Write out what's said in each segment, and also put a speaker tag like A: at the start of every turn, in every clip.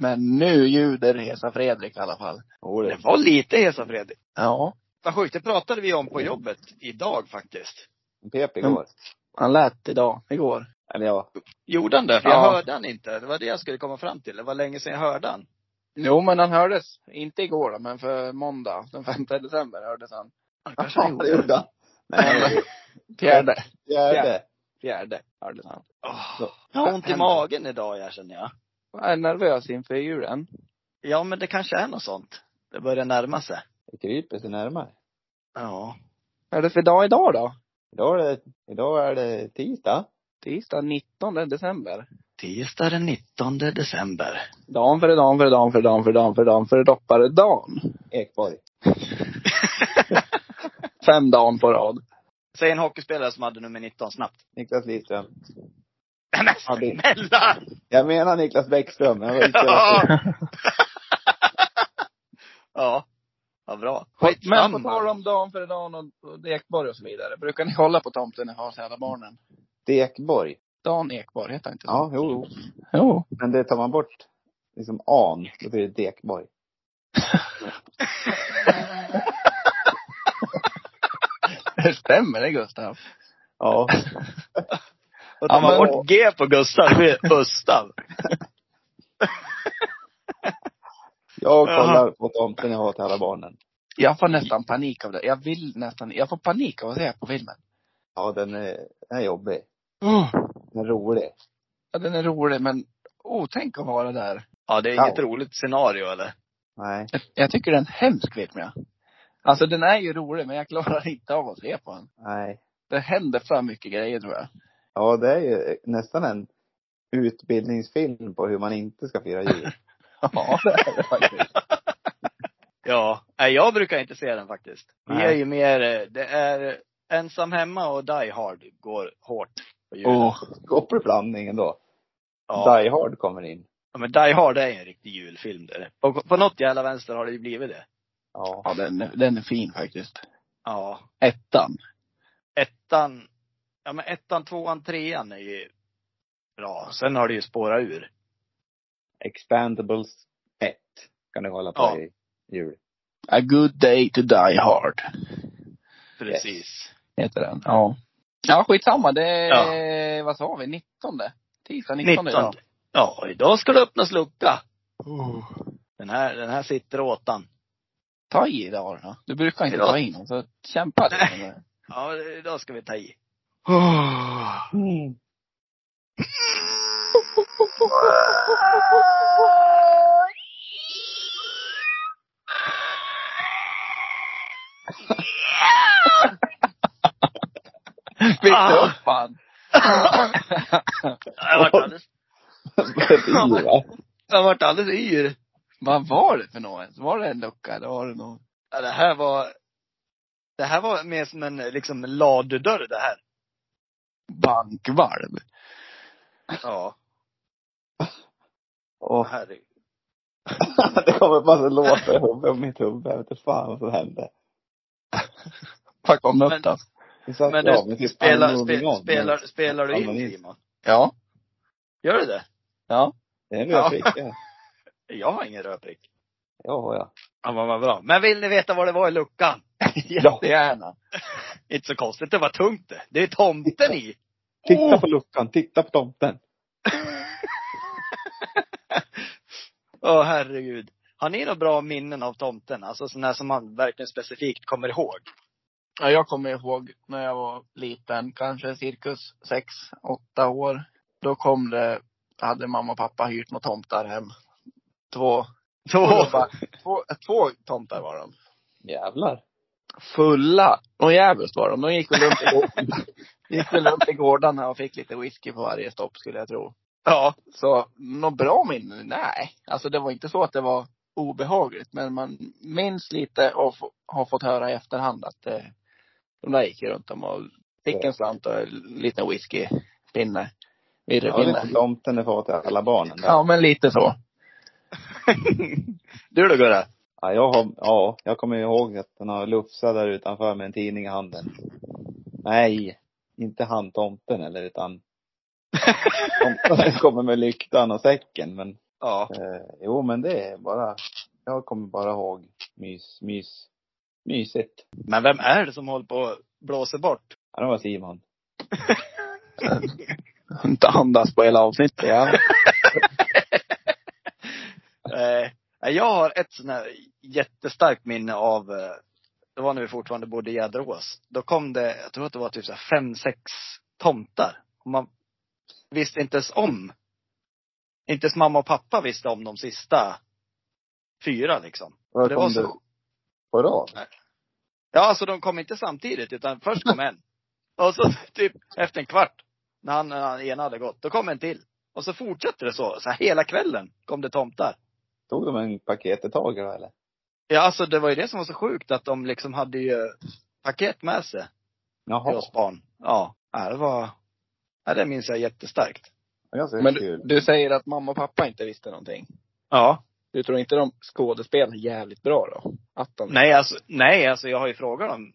A: Men nu ljuder Hesa Fredrik i alla fall.
B: Jo,
C: Det
B: det.
C: var lite Hesa Fredrik.
A: Ja.
C: Vad sjukt, det pratade vi om på jobbet idag faktiskt.
B: En pep igår.
A: Han lät idag, igår.
B: Eller ja,
C: Gjorde han det? För jag
A: Ja.
C: hörde han inte. Det var det jag skulle komma fram till. Det var länge sedan jag hörde han.
A: Jo, men han hördes. Inte igår då, men för måndag, den 5 december hördes han.
C: Han kanske gjorde.
B: han. Nej,
A: Fjärde.
B: fjärde.
A: Fjärde hördes han.
C: Åh,
B: Så,
C: jag har ont i
A: händer.
C: magen idag jag känner jag.
A: Jag är nervös inför julen.
C: Ja men det kanske är något sånt. Det börjar närma sig.
B: Det kryper sig närmare.
C: Ja.
A: Vad är det för dag idag då?
B: Idag är det, idag är det tisdag.
A: Tisdag 19 december.
C: Tisdag den 19 december.
A: Dan före dan före dan före dan före dan före dan före doppare dan.
B: Ekborg.
A: Fem dagar på rad.
C: Säg en hockeyspelare som hade nummer 19 snabbt.
B: Niklas Lidström.
C: Nej men
B: Ja, det-
C: snälla!
B: Jag menar Niklas Bäckström. Jag var ute
C: Ja. ja. Vad bra.
A: Men på tal om dan före dan och och Ekborg och så vidare. Brukar ni hålla på tomten när ni har så alla barnen?
B: efter Ekborg.
A: Dan Ekborg heter han inte så?
B: Ja, jo, jo.
A: Jo.
B: Men det tar man bort liksom an, då blir det Dekborg.
A: Det stämmer det Gustav.
B: Ja.
C: Och ta
A: Ja, men-
C: bort G på Gustav, det blir Gustav.
B: Jag kollar på tomten jag har till alla barnen.
A: Jag får nästan panik av det. Jag vill nästan, jag får panik av att se på filmen.
B: Ja, den är, den är jobbig. Den är rolig.
A: Ja, den är rolig men, oh, tänk att vara där.
C: Ja, det är inget
B: Ja.
C: roligt scenario eller?
B: Nej.
A: Jag, jag tycker det är en hemsk film ja. Alltså den är ju rolig men jag klarar inte av att se på den.
B: Nej.
A: Det händer för mycket grejer tror jag.
B: Ja, det är ju nästan en utbildningsfilm på hur man inte ska fira jul.
A: Ja, det är det faktiskt.
C: Ja. Nej, jag brukar inte se den faktiskt. Vi
B: Nej.
C: är ju mer, eh, det är ensam hemma och Die Hard går hårt. på julen.
A: Åh.
B: Kopplar blandningen då.
C: Ja.
B: Die Hard kommer in.
C: Ja, Men Die Hard är ju en riktig julfilm. Där. På, på något jävla vänster har det ju blivit det.
B: Ja.
A: Ja, den, är- den är fin faktiskt.
C: Ja.
A: Ettan.
C: ettan, ja men ettan, tvåan, trean är ju bra. Sen har det ju spårat ur.
B: Expandables 1 kan du kolla på
C: Ja.
B: i jul.
A: A good day to die hard.
C: Precis.
A: Heter den. Ja. Ja, skitsamma. Det är, vad sa vi, 19? Tisdag 19
C: 19.
A: idag.
C: Ja, idag ska det öppnas lucka. Oh. Den här, den här sitter åtan.
A: Ta i idag då. Du brukar inte
C: Idag.
A: ta i någon, så kämpa lite med det.
C: Ja, idag ska vi ta i.
B: Mm.
A: Fick du
C: Ah.
A: upp han?
C: Jag vart alldeles, jag vart alldeles yr.
A: Vad var det för något? Var det en lucka eller var det någon?
C: Ja, det här var, det här var mer som en liksom ladudörr det här.
A: bankvalv?
C: Ja.
B: Åh,
C: Herregud.
B: det kommer en massa låtar i huvudet och mitt huvud. Jag vet inte fan vad som hände.
A: Vad kom det
C: Men-
A: upp då?
B: Vi satt
C: Men
B: ju
C: du,
B: av med typ
C: Spelar,
B: Unknown
C: spe,
B: Unknown.
C: spelar, spelar du in
B: Anonym.
C: Simon?
A: Ja.
C: Gör du det?
A: Ja.
B: Det är en
C: Ja.
B: röd ficka.
C: Jag har ingen rödprick.
B: Ja, ja.
C: Ja, men vad bra. Men vill ni veta vad det var i luckan?
A: Jättegärna.
C: Inte så konstigt, det var tungt det. Det är tomten i.
B: Titta på luckan, titta på tomten.
C: Åh herregud. Har ni några bra minnen av tomten? Alltså sådana som man verkligen specifikt kommer ihåg?
A: Ja, jag kommer ihåg när jag var liten, kanske cirkus sex, åtta år. Då kom det, hade mamma och pappa hyrt några tomtar hem. Två,
C: Så,
A: två, två tomtar var de.
B: Jävlar.
A: Fulla och jävligt var de. De gick väl runt i, gård- gick väl runt i gårdarna och fick lite whisky på varje stopp skulle jag tro.
C: ja.
A: Så något bra minne? Nej. Alltså det var inte så att det var obehagligt. Men man minns lite och f- har fått höra i efterhand att eh, de där gick ju runt om och fick en slant och en liten whiskypinne.
B: Ja, det är
A: Virrepinne.
B: som tomten är far till alla barnen. där.
A: Ja, men lite så.
C: Du då Gurra?
B: Ja, jag har, ja, jag kommer ihåg att han har lufsat där utanför med en tidning i handen. Nej, inte han tomten eller utan tomten kommer med lyktan och säcken men
C: Ja.
B: Eh, jo, men det är bara, jag kommer bara ihåg mys, mys, mysigt.
C: Men vem är det som håller på och blåser bort?
B: Ja, det var Simon.
A: Inte andas på hela avsnittet. Ja.
C: Eh, jag har ett sånt här jättestarkt minne av, eh, det var när vi fortfarande bodde i Jäderås. Då kom det, jag tror att det var typ så här fem, sex tomtar. Och man visste inte ens om. Inte ens mamma och pappa visste om de sista fyra liksom.
B: Var
C: Det
B: kom
C: var
B: du
C: så.
B: på rad?
C: Ja, alltså de kom inte samtidigt utan först kom en. Och så typ efter en kvart, när han, när han ena hade gått, då kom en till. Och så fortsatte det så. Så här, hela kvällen kom det tomtar.
B: Tog de en paket i taget då, eller?
C: Ja, alltså det var ju det som var så sjukt att de liksom hade ju paket med sig till
B: Jaha.
C: oss barn. Ja. ja, det var, ja, det minns jag jättestarkt.
B: Ja, så
A: Men du,
B: kul.
A: du säger att mamma och pappa inte visste någonting.
C: Ja.
A: Du tror inte de skådespelar jävligt bra då? Att de...
C: Nej alltså, nej alltså jag har ju frågat dem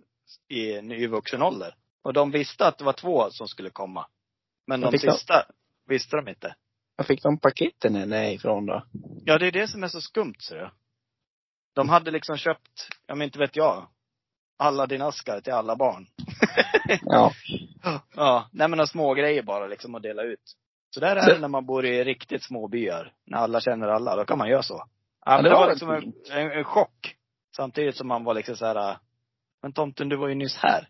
C: i ny vuxen ålder. Och de visste att det var två som skulle komma. Men
A: Vad
C: de
A: fick de?
C: sista visste de inte.
A: Var fick de paketen nej ifrån då?
C: Ja, det är det som är så skumt ser du. De hade liksom köpt, ja men inte vet jag, alla din askar till alla barn.
A: Ja.
C: Ja, nej men några små grejer bara liksom att dela ut. Så där är det när man bor i riktigt små byar. När alla känner alla, då kan man göra så. Ja, men
A: det
C: det
A: var
C: var
A: väl
C: liksom en, en, en chock. Samtidigt som man var liksom så här. äh, men tomten du var ju nyss här.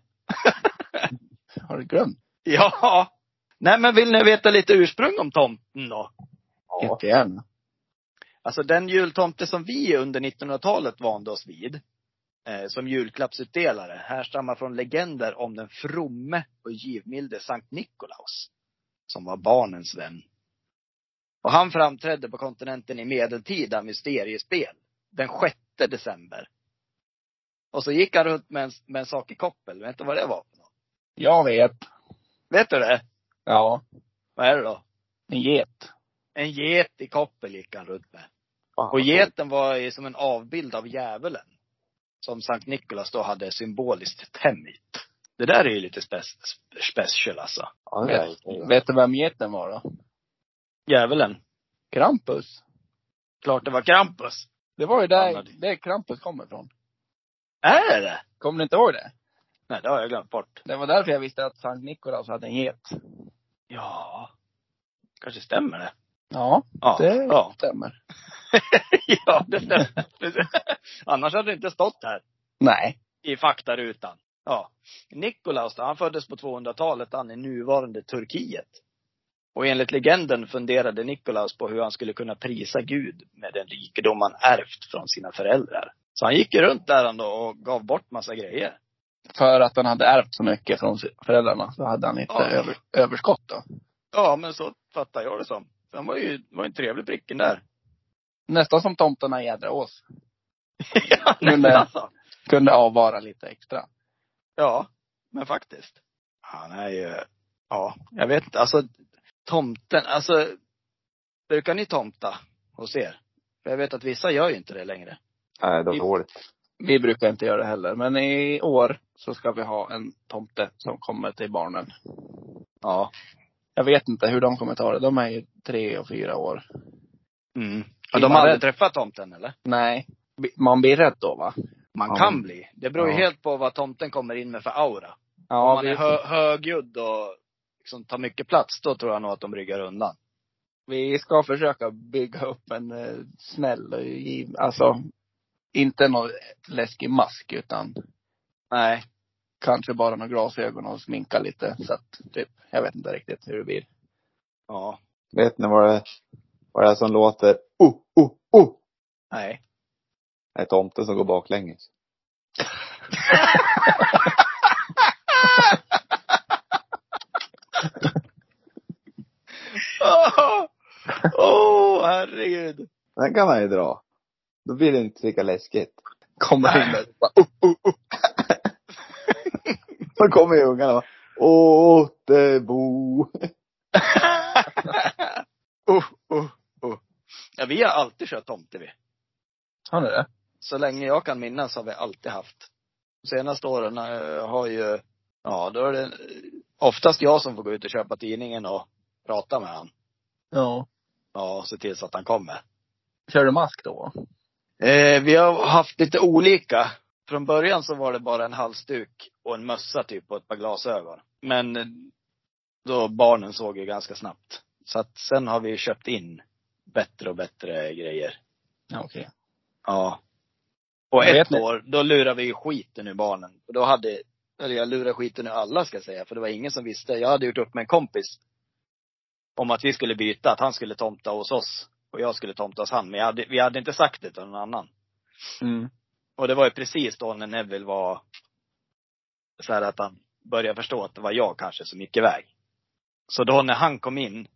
A: Har du glömt?
C: Ja! Nej men vill ni veta lite ursprung om tomten då?
B: Ja.
A: Jättegärna.
C: Alltså den jultomte som vi under 1900-talet vande oss vid, eh, som julklappsutdelare, härstammar från legender om den fromme och givmilde Sankt Nikolaus, som var barnens vän. Och han framträdde på kontinenten i medeltida mysteriespel, den 6 december. Och så gick han runt med en, med en sak i koppel, vet du vad det var?
A: Jag vet.
C: Vet du det?
A: Ja.
C: Vad är det då?
A: En get.
C: En get i koppel gick han runt med.
B: Fan,
C: Och geten var ju som en avbild av djävulen. Som Sankt Nikolaus då hade symboliskt tämjt. Det där är ju lite spe special alltså.
B: Ja, det där
A: Vet,
B: är kul.
A: vet du vem geten var då?
C: Djävulen.
A: Krampus.
C: Klart det var Krampus.
A: Det var ju där,
C: Han hade-
A: där Krampus kommer ifrån.
C: Är det det?
A: Kommer du inte ihåg det?
C: Nej, det har jag glömt bort.
A: Det var därför jag visste att Sankt Nikolaus hade en get.
C: Ja. Kanske stämmer det.
A: Ja,
C: Ja.
A: det
C: Ja.
A: stämmer.
C: ja, det stämmer. Precis. Annars hade det inte stått här.
A: Nej.
C: i faktarutan. Ja. Nikolaus då, han föddes på 200-talet, han i nuvarande Turkiet. Och enligt legenden funderade Nikolaus på hur han skulle kunna prisa Gud med den rikedom han ärvt från sina föräldrar. Så han gick ju runt där han då och gav bort massa grejer.
A: För att han hade ärvt så mycket från si- föräldrarna så hade han inte
C: Ja.
A: över, överskott då.
C: Ja, men så fattar jag det som. Så Han var ju, var ju en trevlig pricken där.
A: Nästan som tomtarna i Jädraås.
C: ja,
A: Men,
C: men
A: eh,
C: alltså.
A: Kunde avvara lite extra.
C: Ja, men faktiskt. Han är ju, ja, jag vet inte, alltså tomten, alltså brukar ni tomta hos er? För jag vet att vissa gör ju inte det längre.
B: Nej, det var dåligt.
A: Vi brukar inte göra det heller. Men i år så ska vi ha en tomte som kommer till barnen.
C: Ja.
A: Jag vet inte hur de kommer ta det. De är ju tre och fyra år.
C: Mm.
A: Blir
C: Och de
A: man
C: har aldrig
A: rädd?
C: träffat tomten eller?
A: Nej. bi- Man blir rädd då va?
C: Man
B: Ja.
C: kan bli. Det beror ju
A: Ja.
C: helt på vad tomten kommer in med för aura.
A: Ja,
C: Om man är hö- högljudd och liksom tar mycket plats, då tror jag nog att de ryggar undan.
A: vi ska försöka bygga upp en eh, snäll och giv, alltså inte någon läskig mask utan
C: Nej.
A: kanske bara några glasögon och sminka lite så att typ, jag vet inte riktigt hur det blir.
C: Ja.
B: Vet ni vad det, vad det är som låter? Oh, oh, oh!
C: Nej.
B: Det är tomten som går baklänges.
C: Åh, oh, herregud.
B: Den kan man ju dra. Då blir det inte lika läskigt.
A: Kommer in och bara,
B: Då kommer ju ungarna och bara, Återbo.
C: uh, uh, uh. Ja, vi har alltid kört tomte vi.
A: har ni det?
C: Så länge jag kan minnas har vi alltid haft. De senaste åren eh, har ju, ja då är det eh, oftast jag som får gå ut och köpa tidningen och prata med han.
A: Ja.
C: Ja, och se till så att han kommer.
A: Kör du mask då?
C: Eh, vi har haft lite olika. Från början så var det bara en halsduk och en mössa typ och ett par glasögon. Men eh, då barnen såg ju ganska snabbt. Så att sen har vi köpt in bättre och bättre grejer.
A: Ja, okej.
C: Ja. Och
A: Jag vet
C: ett
A: ni-
C: år, då lurade vi ju skiten ur barnen. Och då hade, eller jag lurade skiten ur alla ska jag säga, för det var ingen som visste. Jag hade gjort upp med en kompis. Om att vi skulle byta, att han skulle tomta hos oss. Och jag skulle tomta hos han. Men jag hade, vi hade inte sagt det till någon annan.
A: Mm.
C: Och det var ju precis då när Neville var så här att han började förstå att det var jag kanske som gick iväg. Så då när han kom in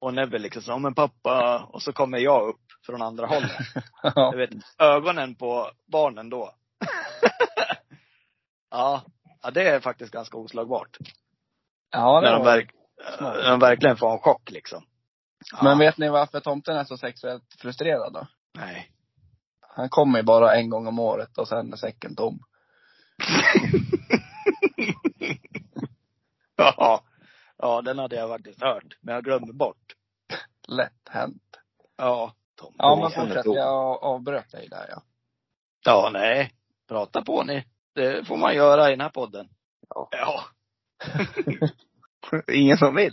C: och Neville liksom sa, "Ja, men pappa, och så kommer jag upp från andra hållet.
A: Ja.
C: Du vet, ögonen på barnen då. ja, ja, det är faktiskt ganska oslagbart.
A: ja, det
C: när, de
A: var...
C: verk, när de verkligen får en chock liksom. Ja,
A: Men vet ni varför tomten är så sexuellt frustrerad då?
C: Nej.
A: Han kommer ju bara en gång om året och sen är säcken tom.
C: ja. ja, den hade jag faktiskt hört, men jag glömde bort.
A: Lätt hänt.
C: Ja, Tom.
A: Ja,
B: Det
A: men
B: är en
A: fortsätt.
B: tom.
A: Jag avbröt dig där ja.
C: Ja, nej. Prata på ni. Det får man göra i den här podden.
B: Ja.
C: ja.
A: Ingen som vill.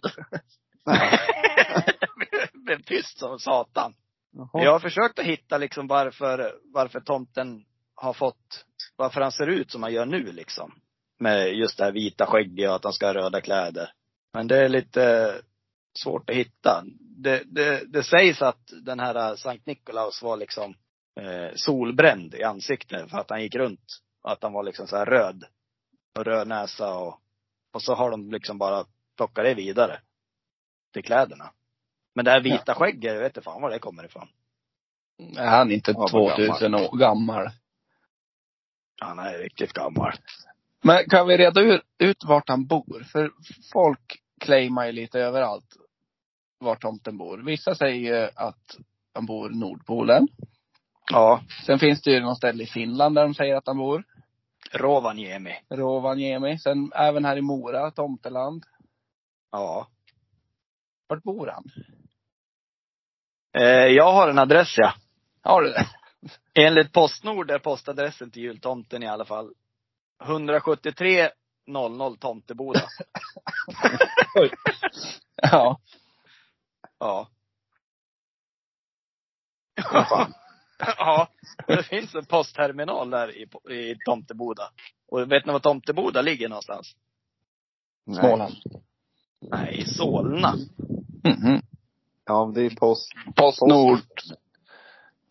C: Blev tyst som satan.
B: Jaha.
C: Jag har försökt att hitta liksom varför, varför tomten har fått, varför han ser ut som han gör nu liksom. Med just det här vita skägget och att han ska ha röda kläder. Men det är lite svårt att hitta. Det, det, det sägs att den här Sankt Nikolaus var liksom eh, solbränd i ansiktet för att han gick runt. Och att han var liksom så här röd. Och röd näsa och, och så har de liksom bara plockat det vidare. Till kläderna. Men det här vita skägget, jag vet inte fan var det kommer ifrån.
A: Är han inte
B: Ja, vad
A: 2000 år gammal?
C: Han är riktigt gammal.
A: Men kan vi reda ur, ut vart han bor? För folk claimar ju lite överallt var tomten bor. Vissa säger ju att han bor i Nordpolen.
C: Ja.
A: Sen finns det ju något ställe i Finland där de säger att han bor.
C: Rovaniemi.
A: Rovaniemi. Sen även här i Mora, Tomteland.
C: Ja.
A: Vart bor han?
C: Eh, jag har en adress ja.
A: Har du det?
C: Enligt Postnord är postadressen till jultomten i alla fall 173 00 Tomteboda.
A: Ja.
C: Ja. ja. Det finns en postterminal där i, i Tomteboda. Och vet ni var Tomteboda ligger någonstans?
B: Nej.
A: Småland.
C: Nej, i Solna.
A: Mhm.
B: Ja, men det är post.
A: Postnord.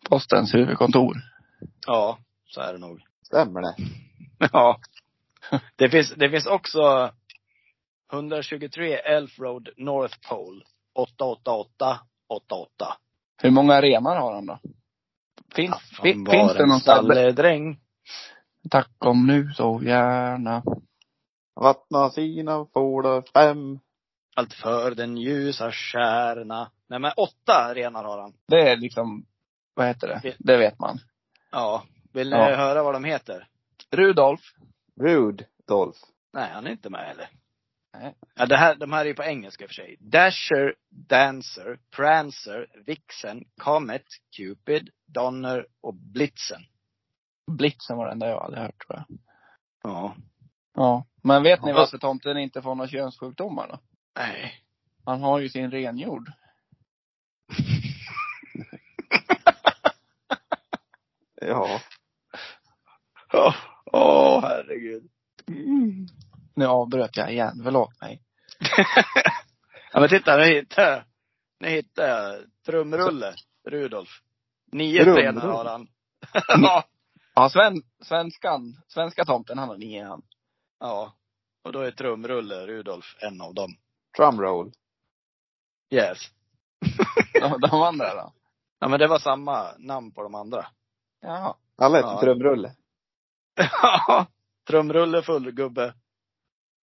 A: Postens huvudkontor.
C: Ja, så är det nog.
B: Stämmer det?
C: Ja. Det finns, det finns också 123 Elf Road North Pole 888 88.
A: Hur många renar har han då? Finns, fin, finns det någon ställe?
C: stalledräng?
A: Tack om nu så gärna.
B: Vattna sina fålar fem.
C: Allt för den ljusa stjärna. Nej men åtta renar har han.
A: Det är liksom, vad heter det?
C: Det-
A: Det vet man.
C: Ja. Vill ni
A: Ja.
C: höra vad de heter?
A: Rudolf.
B: Rude, Dolph.
C: Nej, han är inte med heller.
A: Nej.
C: Ja, det här, de här är ju på engelska i och för sig. Dasher, Dancer, Prancer, Vixen, Comet, Cupid, Donner och Blitzen.
A: Blitzen var den där jag hade hört tror jag.
C: Ja.
A: Ja. Men vet ni
C: Ja.
A: varför tomten inte får några könssjukdomar då?
C: Nej.
A: Han har ju sin renjord.
B: Ja.
C: Åh, åh, herregud.
A: Nu avbröt jag igen, förlåt mig.
C: Ja men titta, nu hittade jag, nu hittade jag trumrulle, Rudolf. Nio
B: Trumrulle?
C: stenar har han. ja.
A: Ja, sven, svenskan, svenska tomten, han har nio han.
C: ja. Och då är trumrulle Rudolf en av dem.
B: Drumroll.
C: Yes.
A: De, de andra då?
C: Ja men det var samma namn på de andra.
A: Jaha.
B: Alla heter
C: Ja.
B: Trumrulle.
C: Ja. trumrulle, fullgubbe,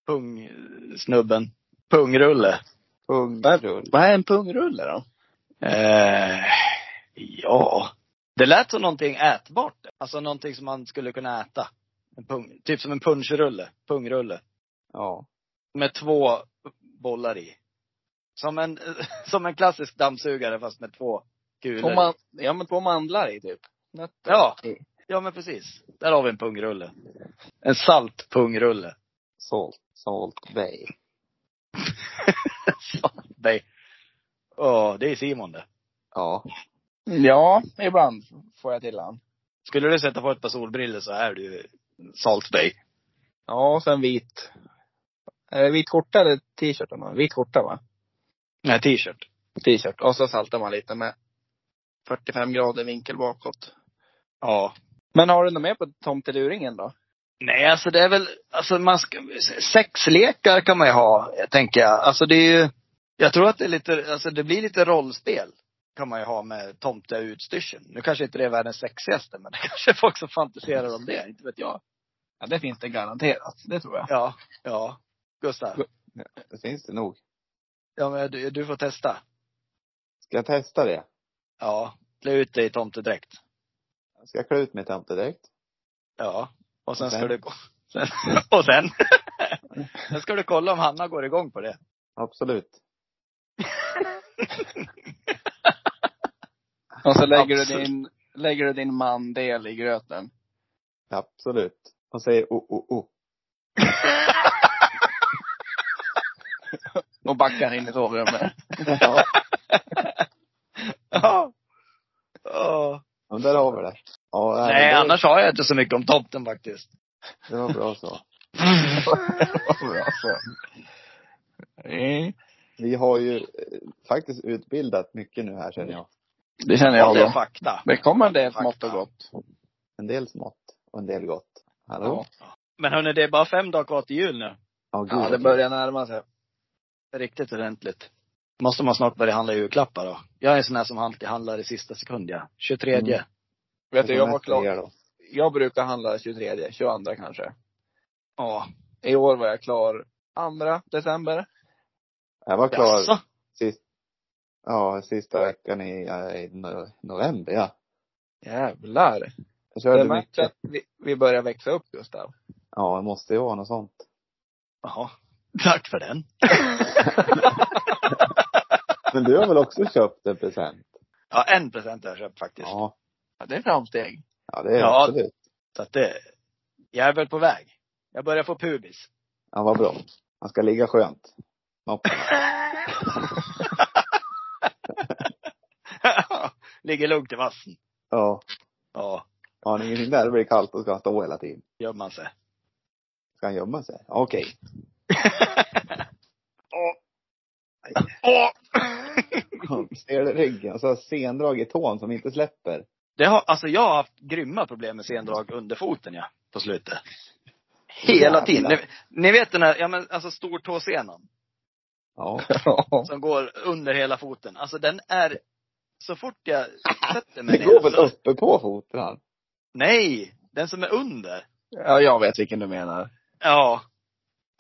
C: pungsnubben, pungrulle.
B: Pungrull.
A: Vad är en pungrulle då?
C: Eh, ja. Det lät som någonting ätbart. Alltså någonting som man skulle kunna äta. En pung, typ som en punschrulle, pungrulle.
B: Ja.
C: Med två bollar i. Som en, som en klassisk dammsugare fast med två kulor.
A: Två, man, ja, men två mandlar i typ. Nötter.
C: Ja. Ja men precis. Där har vi en pungrulle. En saltpungrulle.
B: Salt, Salt Bay.
C: Salt Bay. Åh, det är Simon det.
B: Ja.
A: Ja, ibland får jag till han.
C: Skulle du sätta på ett par solbriller så är du Salt Bay.
A: Ja, och sen vit. Eh, vit skjorta eller t-shirt? om man- Vit skjorta va?
C: Nej, t-shirt.
A: T-shirt. Och så saltar man lite med 45 grader vinkel bakåt.
C: Ja.
A: Men har du något mer på tomteluringen då?
C: Nej, alltså det är väl, alltså man ska, sexlekar kan man ju ha, tänker jag. Alltså det är ju, jag tror att det är lite, alltså det blir lite rollspel. Kan man ju ha med tomteutstyrseln. Nu kanske inte det är världens sexigaste, men det kanske är folk som fantiserar om det, inte vet jag.
A: Ja, det finns det garanterat. Det tror jag.
C: Ja, ja. Gustav,
B: Det finns det nog.
C: ja, men du, du får testa.
B: Ska jag testa det?
C: Ja, klä ut dig i tomtedräkt.
B: Ska jag klä ut mig i tomtedräkt?
C: Ja. Och sen
B: Och
C: ska
B: sen?
C: du, ko- sen, och sen. sen ska du kolla om Hanna går igång på det.
B: Absolut.
A: Och så lägger du
C: Absolut.
A: din, lägger du din mandel i gröten.
B: Absolut. Och säger oh, oh, oh.
A: Och backar in i sovrummet.
B: Ja,
C: Ja. Ja.
B: men där har vi det. Ja, men
C: Nej,
B: det,
C: annars har jag inte så mycket om tomten faktiskt.
B: Det var bra så.
A: alltså. Mm.
B: Vi har ju eh, faktiskt utbildat mycket nu här känner jag.
A: Det känner
C: Ja,
A: jag
C: det är
A: då.
C: fakta.
A: Det kommer en del
C: Fakta.
A: smått och gott.
B: En del smått och en del gott. Hallå?
A: Ja,
C: Men hörni, det är bara fem dagar kvar till jul nu.
B: Ja, gud,
A: ja det
B: vad-
A: börjar närma sig.
C: Riktigt ordentligt. Måste man snart börja handla julklappar då. Jag är en sån här som alltid handlar i sista sekund, ja. 23.
B: Mm.
A: Vet du, jag
B: de
A: var
B: här
A: klar.
B: tre då.
A: Jag brukar handla 23, 22 kanske.
C: Ja.
A: I år var jag klar 2 december.
B: Jag var klar
C: Jaså?
B: sist, ja, sista veckan i, eh, i no- november ja.
A: Jävlar.
B: Jag
A: Det
B: körde
A: märks
B: mycket.
A: att vi, vi börjar växa upp Gustav.
B: Ja, det måste ju vara något sånt.
C: Jaha. Tack för den.
B: Men du har väl också köpt en present?
C: Ja, en present har jag köpt faktiskt.
B: Ja.
A: Ja, det är framsteg.
B: Ja, det är
C: Ja.
B: absolut.
C: Så att det, jag är väl på väg. Jag börjar få pubis.
B: Ja, vad bra. Man ska ligga skönt.
C: Ligger lugnt i vassen.
B: Ja.
C: Ja,
B: Har ni ingenting där, det blir kallt och ska han stå hela tiden.
C: gömmer man sig.
B: Ska han gömma sig? Okej.
C: Åh!
B: Stel ryggen, så har sendrag i tån som inte släpper.
C: Det har, alltså jag har haft grymma problem med sendrag under foten ja, på slutet. Hela
B: Jävlar.
C: tiden. Ni, ni vet den här, ja men alltså stortåsenan
B: Ja.
A: Ja.
C: som går under hela foten. Alltså den är, så fort jag sätter mig
B: Det går väl uppe på foten han?
C: Nej! Den som är under.
A: ja, jag vet vilken du menar.
C: Ja.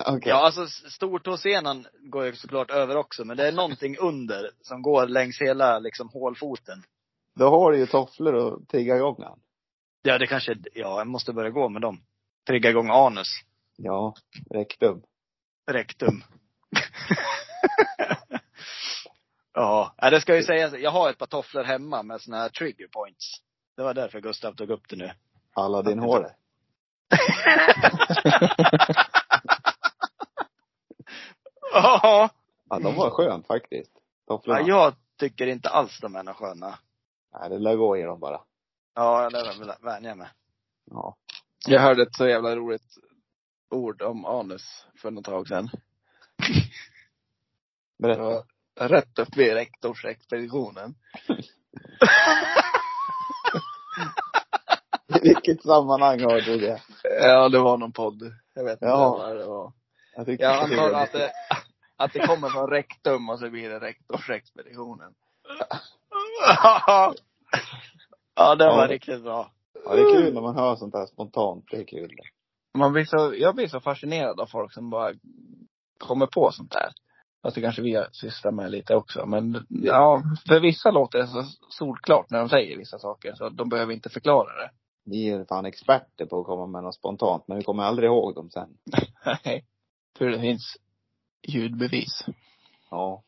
B: Okej.
C: Ja, alltså s- stortåsenan går ju såklart över också, men det är någonting under som går längs hela liksom hålfoten.
B: Då har du ju tofflor och trigga igång han.
C: Ja, det kanske, ja, jag måste börja gå med dem. Trigga igång anus.
B: Ja. Rektum.
C: Rektum. ja, ja, det ska ju sägas. Jag har ett par tofflor hemma med såna här trigger points. Det var därför Gustav tog upp det nu.
B: Alla din hår.
C: Ja,
B: Ja, de var skönt faktiskt. Tofflorna.
C: ja, jag tycker inte alls de är några sköna.
B: Nej, det lär gå i dem bara.
C: Ja, det är väl vänja mig.
B: Ja.
A: Jag hörde ett så jävla roligt ord om anus för något tag sedan. Det
B: Berätta.
A: var rätt upp vid rektorsexpeditionen.
B: I vilket sammanhang har du det?
A: Ja, det var någon podd. Jag vet inte
B: Ja.
A: vad det var.
B: Jag tycker
A: Jag antar att det, att det kommer från rektum och så blir det rektorsexpeditionen.
C: ja, det var
B: Ja.
C: riktigt bra.
B: Ja, det är kul när man hör sånt här spontant. Det är kul.
A: Man blir så, jag blir så fascinerad av folk som bara kommer på sånt där. Fast det kanske vi sysslar med lite också. Men ja, för vissa låter det så solklart när de säger vissa saker så de behöver inte förklara det.
B: Ni är fan experter på att komma med något spontant, men vi kommer aldrig ihåg dem sen.
A: Nej. Tur det finns ljudbevis.
B: Ja.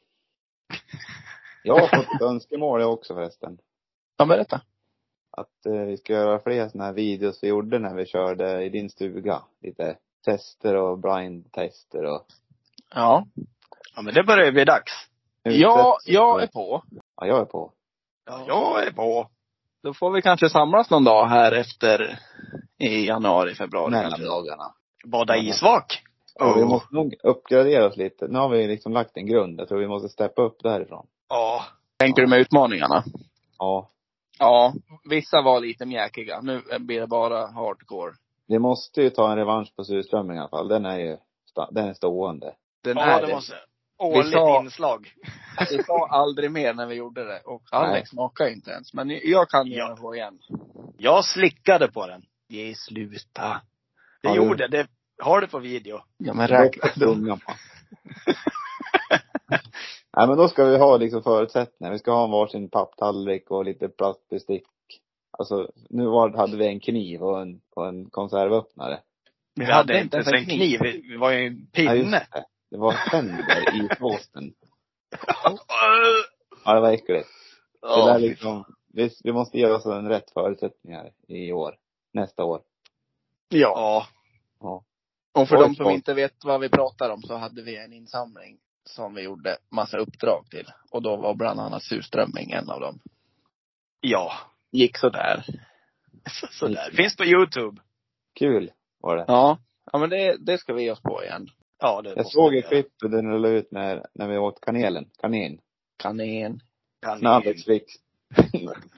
B: Jag har fått ett önskemål jag också förresten.
A: Ja, berätta.
B: Att eh, vi ska göra fler sådana här videos vi gjorde när vi körde i din stuga. Lite tester och blindtester och
A: Ja.
C: Ja, men det börjar ju bli dags.
A: Ja, jag är på.
B: Ja, jag är på.
C: Ja. Jag är på.
A: Då får vi kanske samlas någon dag här efter i januari, februari. kanske.
B: dagarna.
C: Bada
B: Ja.
C: isvak.
B: Ja, vi
C: Oh.
B: måste nog uppgradera oss lite. Nu har vi liksom lagt en grund. Jag tror vi måste steppa upp därifrån.
C: Ja.
A: Tänkte du med utmaningarna?
B: Ja.
A: Ja, vissa var lite mjäkiga. Nu blir det bara hardcore.
B: Vi måste ju ta en revansch på surströmming i alla fall. Den är ju, sta- den är stående.
A: Den
C: Ja,
A: är
C: det
A: det.
C: måste. Årligt
A: sa-
C: inslag.
A: Vi sa aldrig mer när vi gjorde det. Och Alex smakade inte ens. Men jag kan
C: Ja.
A: gärna få igen.
C: Jag slickade på den.
A: Ge sluta.
C: Det
B: Har du-
C: gjorde det. Har du på video?
A: Ja men räkna.
B: Bort tungan på. Nej men då ska vi ha liksom förutsättningar. Vi ska ha en varsin papptallrik och lite plastbestick. Alltså nu var, hade vi en kniv och en, och en konservöppnare.
A: Vi
C: Vi hade inte ens en kniv. Vi vi var ju en
B: Ja, just
C: pinne.
B: det. Det var tänder i påsen. Ja det var äckligt. det
C: Ja,
B: där liksom, vi, vi måste ge oss en rätt förutsättningar i år. Nästa år.
A: Ja.
C: Ja.
B: Ja.
A: Och för
B: Oj,
A: de som
B: oj.
A: inte vet vad vi pratar om så hade vi en insamling som vi gjorde massa uppdrag till. Och då var bland annat surströmming en av dem.
C: Ja.
A: Gick sådär.
C: Så- Sådär. Finns på Youtube.
B: Kul var det.
A: Ja. Ja men det, det ska vi ge oss på igen.
C: Ja, det
B: Jag
C: måste
B: såg
C: vi
B: ett
C: göra.
B: klipp du rullade ut när, när vi åt kanelen. Kanin.
A: Kanin.
C: Kan
B: När
C: ni-
B: Alex fick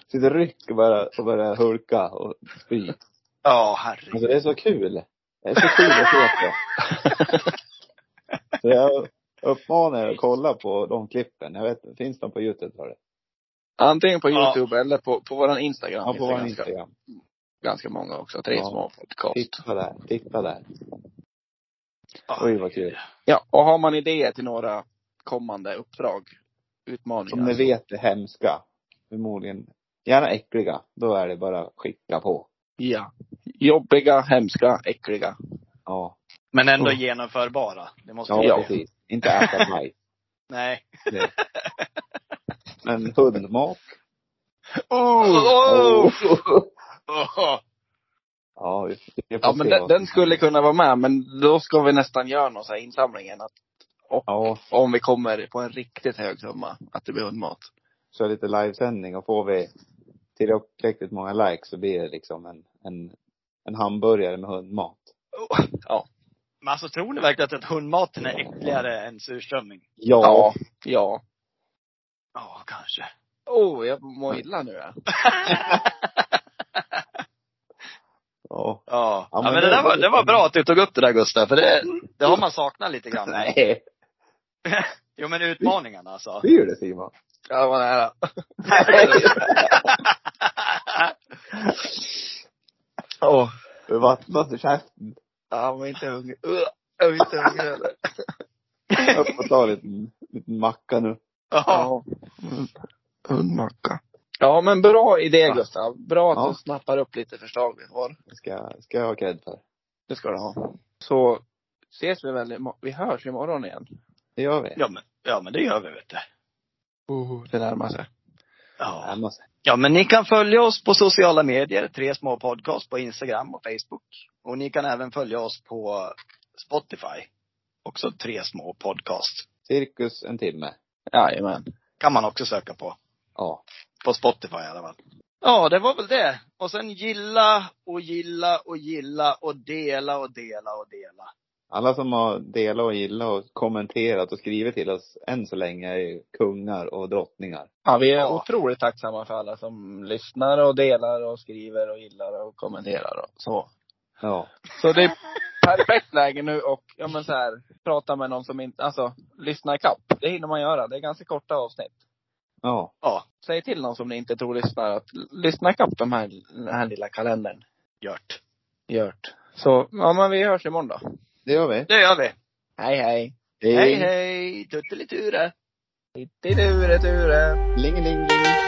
B: sitt ryck och började, och började hulka och spy.
C: Ja, herregud.
B: Alltså det är så kul. Det är så kul att se på. Så jag uppmanar er att kolla på de klippen. Jag vet finns de på Youtube var det?
A: Antingen på
C: Ja.
A: youtube eller på, på våran instagram.
B: Ja,
A: finns
B: på
A: det
B: vår
A: ganska,
B: Instagram.
A: ganska många också. Tre
B: Ja.
A: små podcast.
B: Titta där, titta där.
C: Ja.
B: Alltså, Oj vad kul.
A: Ja. Och har man idéer till några kommande uppdrag, utmaningar.
B: Som ni vet är hemska. Förmodligen. Gärna äckliga. Då är det bara att skicka på.
A: Ja. Jobbiga, hemska, äckliga.
B: Ja.
C: Men ändå
A: Oh.
C: genomförbara. Det måste
B: Ja,
C: vi göra.
B: precis. Inte äta bajs.
C: Nej.
B: Men hundmat.
C: Oh. Oh.
B: Ja, vi, vi får
A: Ja men
B: se
A: den,
B: vad som
A: den skulle
B: händer.
A: kunna vara med, men då ska vi nästan göra någon så här insamlingen. Att
B: Ja,
A: om vi kommer på en riktigt hög summa, att det blir hundmat.
B: köra lite livesändning och får vi tillräckligt många likes så blir det liksom en, en, en hamburgare med hundmat.
A: Ja.
C: Men alltså tror ni verkligen att hundmaten är äckligare än surströmming?
B: Ja.
A: Ja. Ja.
C: Ja, kanske.
A: Åh, oh, jag mår illa nu. ja.
B: ja.
C: Ja.
B: Ja,
C: ja,
B: men
C: men det,
B: det-
C: där var, det var bra att du tog upp det där Gustav, för det, det har man saknat lite grann.
B: Nej.
C: Jo men utmaningarna alltså.
B: Blir det Simon?
A: Ja, det var nära.
B: Åh. Du vattnas i käften.
A: Ja, men inte hungrig. Ugh, Jag är inte hungrig heller.
B: Upp och ta en liten, liten macka nu.
C: Ja.
A: Hundmacka. Ja men bra idé Gustav. Bra att
B: Ja.
A: du snappar upp lite förslag vi har.
B: Det ska, ska jag ha cred för.
A: Det ska du ha. Så ses vi väl imorgon. Vi hörs imorgon igen.
B: Det gör vi.
C: ja, men, ja men det gör vi vet du.
A: Oh, det närmar sig.
C: Ja.
B: Närmar sig.
C: ja men ni kan följa oss på sociala medier, Tre små podcast på Instagram och Facebook. Och ni kan även följa oss på Spotify. Också Tre små podcast.
B: Cirkus en timme.
A: Jajamän.
C: Kan man också söka på.
B: Ja.
C: På Spotify i alla fall. Ja, det var väl det. Och sen gilla och gilla och gilla och dela och dela och dela.
B: Alla som har delat och gillat och kommenterat och skrivit till oss än så länge är ju kungar och drottningar.
A: Ja, vi är
C: Ja.
A: otroligt tacksamma för alla som lyssnar och delar och skriver och gillar och kommenterar och så.
B: Ja.
A: Så det är perfekt läge nu och, ja men så här, prata med någon som inte, alltså, lyssna ikapp. Det hinner man göra. Det är ganska korta avsnitt.
B: Ja.
C: Ja,
A: Säg till någon som ni inte tror lyssnar att l- lyssna ikapp de här, den här lilla kalendern.
C: gjort.
A: Gjort. Så, ja men vi hörs imorgon då.
B: Det gör vi.
C: Det gör vi.
A: Hej hej!
C: Hej hej! Tutteliture!
A: Titti dure dure!
B: Lingelingeling.